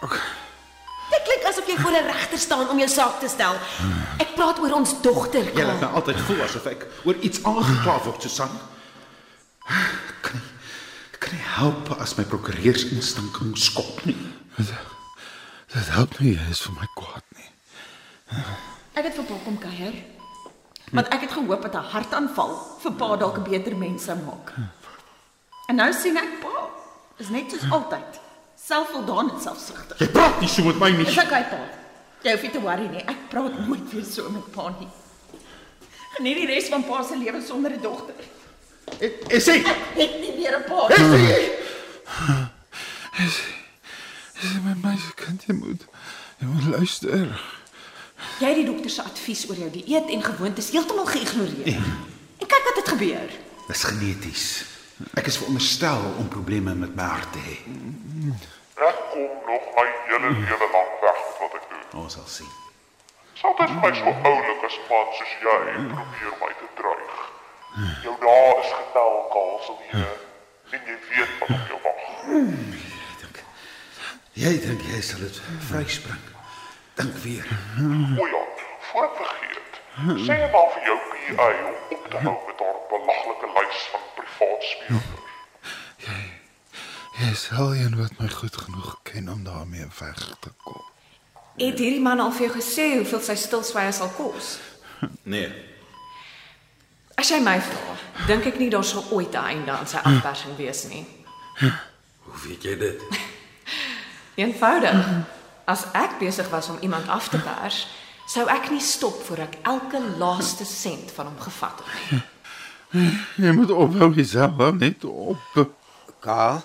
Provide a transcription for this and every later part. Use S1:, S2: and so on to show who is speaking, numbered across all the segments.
S1: Dit klink asof jy voor 'n regter staan om jou saak te stel. Ek praat oor ons dogter.
S2: Jy
S1: Karl.
S2: laat my altyd voel asof ek oor iets aangekla word, Susan. Ek Kan nie ek kan nie help as my prokureursingstink hom skop nie.
S3: Dit help nie jy is vir my kwaad nie.
S1: Ek het vir Pa kom kuier. Want ek het gehoop dat 'n hartaanval vir Pa dalk 'n beter mens sou maak. En nou sien ek Pa is net soos altyd, selfvoldaan en selfsugtig.
S2: Jy praat nie so met my nie.
S1: Is ek hy Pa? Jy hoef nie te worry nie. Ek praat nooit weer so met Pa nie. Geniet die res van Pa se lewe sonder 'n dogter.
S2: Ek sê
S1: Ek het nie meer 'n Pa nie.
S3: Dis my meisiekind, jy moet jy moet luister.
S1: Jy het die dokter se advies oor jou dieet en gewoontes heeltemal geïgnoreer. En kyk wat het gebeur.
S2: dis geneties. Ek is veronderstel om probleme met my hart te hê.
S4: Ek kom nog my hele lewe lank weg met wat ek doen.
S2: Ons sal sien.
S4: Sal dit vir my so oulike span soos jy probeer my te dreig. Jou dae is getel, Kaalselheer. En jy weet wat op jou wag.
S2: Jy dink jy sal dit vryspring. Dink weer.
S4: O ja, voor ek vergeet. Sê maar vir jou PA om op te hou met haar belaglike lys van privaat speurders.
S3: Jy is al een wat my goed genoeg ken om daarmee weg te kom.
S5: Het hierdie man al vir jou gesê hoeveel sy stilswye sal kos?
S2: Nee.
S5: As jy my vra, dink ek nie daar sal ooit 'n einde aan sy afpersing wees nie.
S2: Hoe weet jy dit?
S5: Eenvoudig. As ek besig was om iemand af te pers, sou ek nie stop voor ek elke laaste sent van hom gevat het nie.
S3: Jy moet ophou jouself hou net op.
S6: Kaal?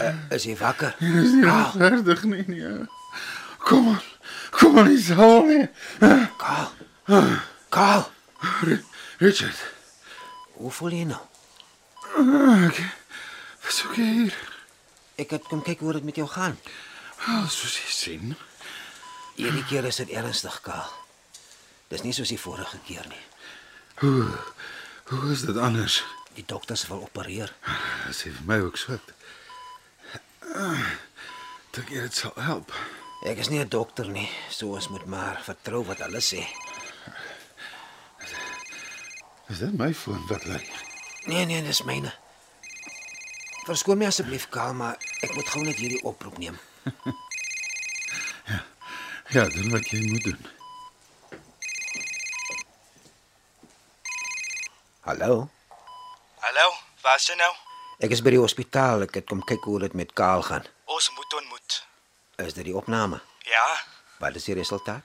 S6: Uh, is jy wakker?
S3: Dis nie
S6: Kaal,
S3: regverdig nie nie. Kom aan. Kom aan, dis al nie.
S6: Kaal. Kaal,
S3: Richard, Ah,
S6: hoe voel jy nou?
S3: wat soek jy hier? Ah,
S6: Ek het kom kyk hoe dit met jou gaan.
S3: Wel, soos jy sien,
S6: Hierdie keer is dit ernstig, Kaal. Dis nie soos die vorige keer nie.
S3: hoe is dit anders? Ah,
S6: Die dokters wil opereer.
S3: Dit sê vir my ook Ah, so. Dink jy dit sal help?
S6: Ek is nie 'n dokter nie, so ons moet maar vertrou wat hulle sê.
S3: Is dit my foon wat ly?
S6: Nee, nee, dis myne. Verskoon my asseblief, Kaal, maar ek moet gou net hierdie oproep neem.
S3: Ja, doen wat jy moet doen.
S6: Hallo.
S7: Hallo, waar is jy nou?
S6: Ek is by die hospitaal. Ek het kom kyk hoe dit met Kaal gaan.
S7: Ons moet ontmoet.
S6: Is dit die opname?
S7: Ja,
S6: Wat is die resultaat?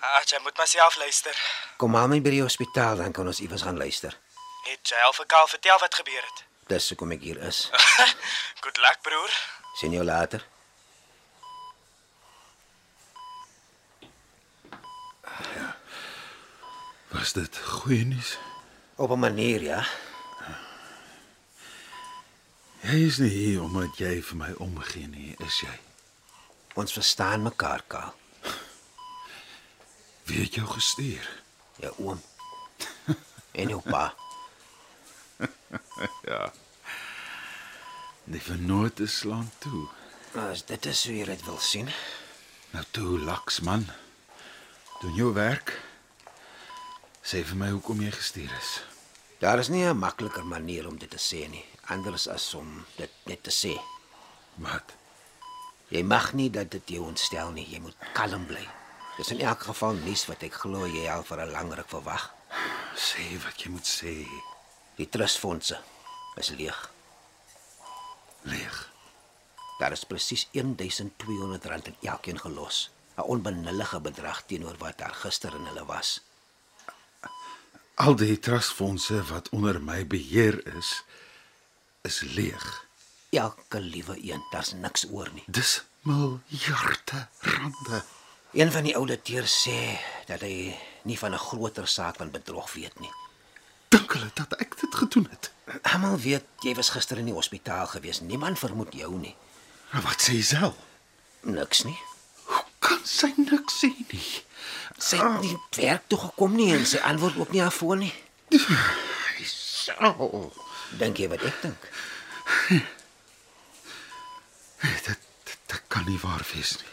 S7: ah, jy moet myself luister.
S6: Kom haal my by die hospitaal dan kan ons iewers gaan luister.
S7: Het jy al vir Karl vertel wat gebeur het?
S6: Dis hoekom ek hier is.
S7: Good luck, broer.
S6: Sien jou later.
S3: Was dit goeie nuus?
S6: Op 'n manier, ja.
S3: Jy is nie hier omdat jy vir my omgee nie, is jy?
S6: Ons verstaan mekaar, Kaal.
S3: Wie het jou gestuur?
S6: Jou oom en jou pa.
S3: Die vernoot is slaan Nee, toe.
S6: Nou, As dit is hoe jy dit wil sien.
S3: Nou toe, laks man. Doen jou werk. Sê vir my hoekom jy gestuur is.
S6: Daar is nie 'n makliker manier om dit te sê nie, anders as om dit net te sê.
S3: Wat?
S6: Jy mag nie dat dit jou ontstel nie. Jy moet kalm bly. Dis in elk geval nuus wat ek glo jy al vir 'n lang ruk verwag.
S3: Sê wat jy moet sê.
S6: Die trustfondse is leeg.
S3: Leeg.
S6: Daar is presies R1200 in elkeen gelos. 'n Onbenullige bedrag teenoor wat daar gister in hulle was.
S3: Al die trustfondse wat onder my beheer is, is leeg.
S6: Elke liewe een, daar's niks oor nie.
S3: Dis miljarde rande.
S6: Een van die ouditeurs sê dat hy nie van 'n groter saak van bedrog weet nie.
S2: Dink hulle dat ek dit gedoen het?
S6: Almal weet jy was gister in die hospitaal gewees. Niemand vermoed jou nie.
S2: Maar wat sê Isel?
S6: Niks nie.
S2: Hoe kan sy niks sê nie?
S6: Sy het nie werk toe gekom nie en sy antwoord ook nie haar foon nie.
S2: Isel.
S6: Dink jy wat ek dink?
S2: Dit, dit dit kan nie waar wees nie.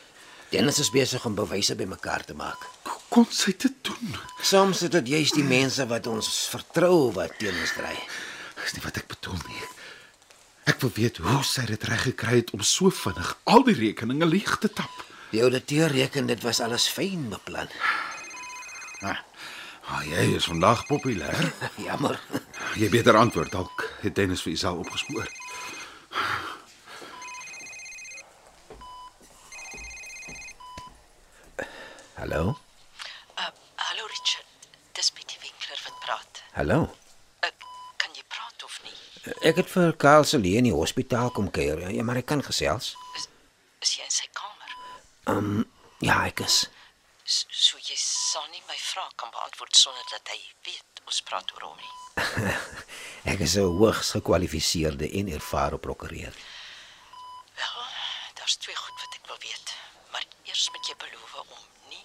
S6: Dennis is besig om bewyse bymekaar te maak.
S2: Hoe kon sy dit doen?
S6: Soms is dit juist die mense wat ons vertrou wat teen ons dry.
S2: Dis nie nee, wat ek bedoel nie. Ek wil weet hoe sy dit reg gekry het om so vinnig al die rekeninge leeg te tap.
S6: Die ouditeur reken dit was alles fyn beplan.
S3: Ah, jy is vandag populêr.
S6: Jammer.
S2: Jy beter antwoord dalk het Dennis vir Isel opgespoor.
S6: Hallo.
S8: Uh, hallo Richard, dis Pietie Winkler wat praat.
S6: Hallo.
S8: Ek kan jy praat of nie?
S6: Ek het vir Karl se leen in die hospitaal kom kuier, ja, maar ek kan gesels.
S8: Is, is jy in sy kamer?
S6: Ja, ek is.
S8: So, so jy sal nie my vraag kan beantwoord sonder dat hy weet ons praat oor hom nie.
S6: Ek is 'n hoogs gekwalifiseerde en ervare prokureur.
S8: Wel, Ah, daar's twee goed wat ek wil weet, maar eers moet jy beloof om nie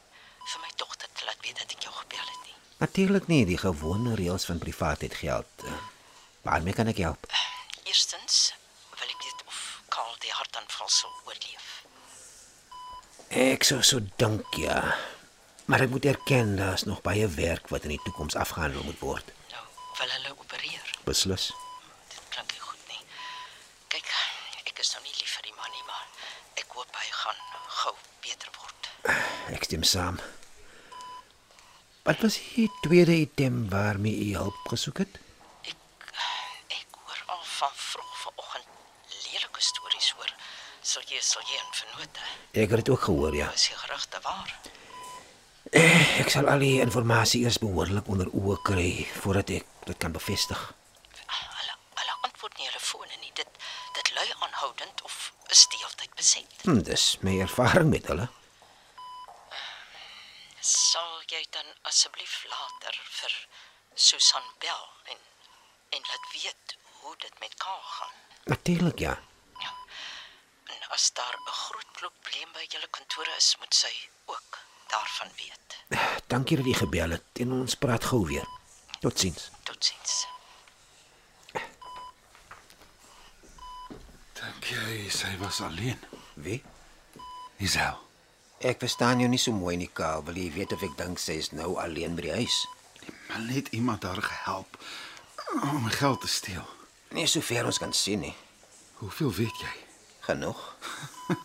S8: vir my dogter te laat weet dat ek jou gebel het nie.
S6: Natuurlik nie die gewone reëls van privaatheid geld. Waarmee kan ek help?
S8: Eerstens wil ek weet of Karl die hartaanval sal oorleef.
S6: Ek sou so dink ja. Maar ek moet erken daar's nog baie werk wat in die toekoms afgehandel moet word.
S8: Nou, wil hulle opereer.
S6: Beslis.
S8: Dit klink nie goed nie. Kyk, ek is nou nie lief vir die man nie, maar ek hoop hy gaan gou beter word.
S6: Ek stem saam. Wat was die tweede item waarmee u hulp gesoek het?
S8: Ek ek hoor al van vroeg vanoggend lelike stories oor sal jy sal jy en vennote.
S6: Ek het dit ook gehoor ja.
S8: Is die gerugte waar?
S6: Ek sal al die inligting eers behoorlik onder oë kry voordat ek dit kan bevestig.
S8: Hulle hulle antwoord nie hulle fone nie. Dit dit lui aanhoudend of is die altyd beset.
S6: Hm, dis my ervaring met hulle.
S8: Sal jy dan asseblief later vir Susan bel en en laat weet hoe dit met Karl gaan?
S6: Natuurlik ja.
S8: Ja. En as daar 'n groot probleem by julle kantore is, moet sy ook daarvan weet.
S6: Dankie dat jy gebel het en ons praat gou weer. Totsiens.
S8: Totsiens.
S3: Dink jy sy was alleen?
S6: Wie?
S3: Isel.
S6: Ek verstaan jou nie so mooi nie, Kaal. Wil jy weet of ek dink sy is nou alleen by die huis?
S3: Maar net iemand haar gehelp om geld te steel.
S6: Nie sover ons kan sien nie.
S3: Hoeveel weet jy?
S6: Genoeg.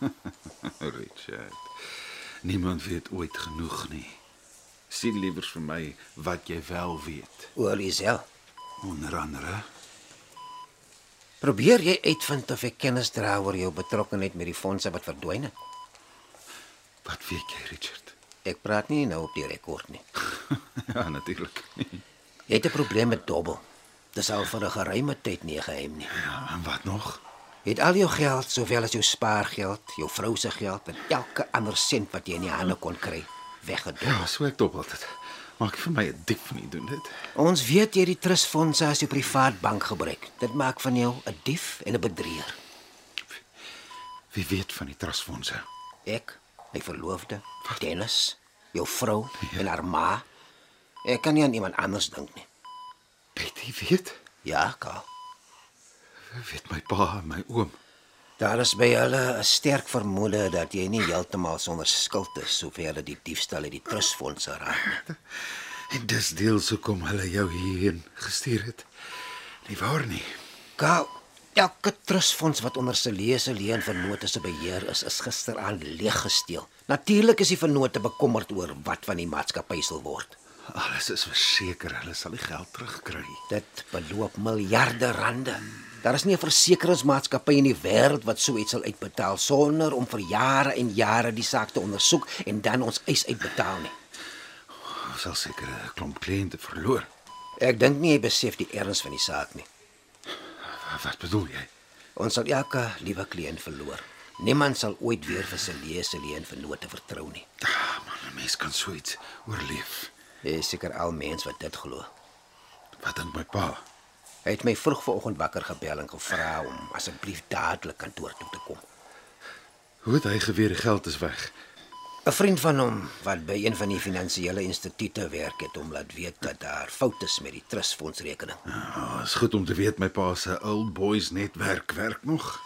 S3: Richard. Niemand weet ooit genoeg nie. Sien liewer vir my wat jy wel weet.
S6: Oor Isel.
S3: Onder andere
S6: Probeer jy uitvind of ek kennis dra oor jou betrokkeheid met die fondse wat verdwyn het?
S3: Wat weet jy, Richard?
S6: Ek praat nie nou op die rekord nie.
S3: ja, natuurlik.
S6: Jy het 'n probleem met dobbel. Dis al vir 'n geruime tyd nie 'n geheim nie.
S3: Ja, en wat nog?
S6: Jy het al jou geld, sowel as jou spaargeld, jou vrou se geld en elke ander sent wat jy in die hande kon kry, weggedoen.
S3: Ja, so ek dop altyd. Maak vir my 'n dik van nie doen dit.
S6: Ons weet jy het die trustfondse as jou privaat bank gebruik. Dit maak van jou 'n dief en 'n bedrieger.
S3: Wie weet van die trustfondse?
S6: Ek, my verloofde, Dennis, jou vrou en haar ma. Ek kan nie aan iemand anders dink nie.
S3: Betty weet.
S6: Ja, Karl.
S3: Weet my pa en my oom.
S6: Daar is by hulle 'n sterk vermoede dat jy nie heeltemal sonder skuld is sover dit die diefstal uit die trustfondse raak nie.
S3: En dis deels hoekom hulle jou hierheen gestuur het. Nie waar nie?
S6: Karl, elke trustfonds wat onder se lese leen vennote se beheer is, is gisteraand leeggesteel. Natuurlik is die vennote bekommerd oor wat van die maatskappy sal word.
S3: Alles is verseker, hulle sal die geld terugkry.
S6: Dit beloop miljarde rande. Daar is nie 'n versekeringsmaatskappy in die wêreld wat so iets sal uitbetaal sonder om vir jare en jare die saak te ondersoek en dan ons eis uitbetaal nie.
S3: Ons sal seker 'n klomp kliënte verloor.
S6: Ek dink nie jy besef die erns van die saak nie.
S3: Wat bedoel jy?
S6: Ons sal elke liewe kliënt verloor. Niemand sal ooit weer vir sy lese leen vennote vertrou nie.
S3: Ah, man, Mens kan so iets oorleef.
S6: Jy is seker al mens wat dit glo.
S3: Wat dink my pa?
S6: Hy het my vroeg vanoggend wakker gebel en gevra om asseblief dadelik kantoor toe te kom.
S3: Hoe het hy geweet die geld is weg?
S6: 'n Vriend van hom wat by een van die finansiële instituie werk het hom laat weet dat daar foute is met die trustfondsrekening.
S3: Ah, is goed om te weet my pa se old boys netwerk werk nog.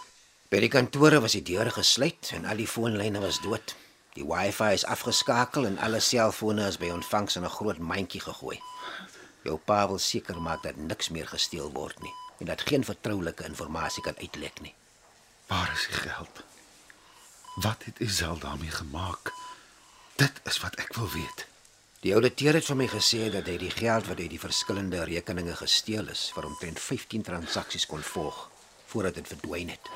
S6: By die kantore was die deure gesluit en al die foonlyne was dood. Die Wi-Fi is afgeskakel en alle selfone is by ontvangs in 'n groot mandjie gegooi. Jou pa wil seker maak dat niks meer gesteel word nie en dat geen vertroulike inligting kan uitlek nie.
S3: Waar is die geld? Wat het Isel daarmee gemaak? Dit is wat ek wil weet.
S6: Die ouditeur het vir my gesê dat hy die geld wat uit die verskillende rekeninge gesteel is vir omtrent 15 transaksies kon volg voordat dit verdwyn het.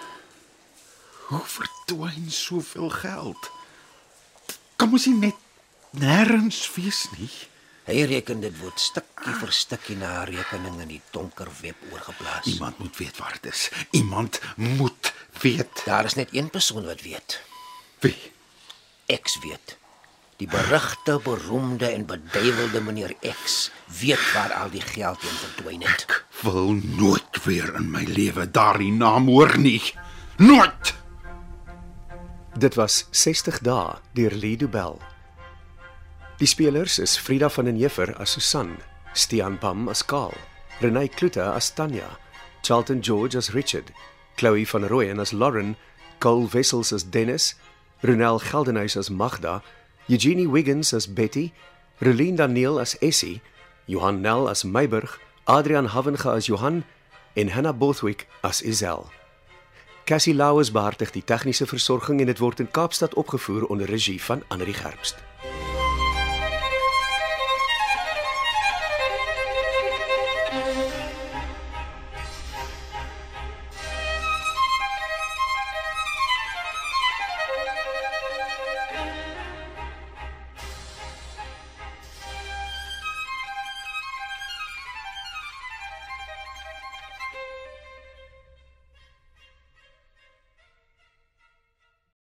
S3: Hoe verdwyn soveel geld? Dit Kan mos nie net nêrens wees nie.
S6: Hy reken dit word stukkie vir stukkie na 'n rekening in die donker web oorgeplaas.
S3: Iemand moet weet waar dit is. Iemand moet weet.
S6: Daar is net een persoon wat weet.
S3: Wie?
S6: X weet. Die berugte, beroemde en beduiwelde meneer X weet waar al die geld heen verdwyn het.
S3: Ek wil nooit weer in my lewe daardie naam hoor nie. Nooit.
S9: Dit was 60 dae deur Lido Bell. Die spelers is Frida van den Heever as Susan, Stean Pam as Karl, Renay Klute as Tanya, Charlton George as Richard, Chloe van Rooyen as Lauren, Cole Wessels as Dennis, Ronel Geldenhuys as Magda, Eugenie Wiggins as Betty, Relien Daniel as Essie, Johan Nel as Meiburg, Adrian Havenga as Johan en Hannah Bothwick as Isel. Cassie Lauers beheer die tegniese versorging en dit word in Kaapstad opgevoer onder regie van Anri Gerbst.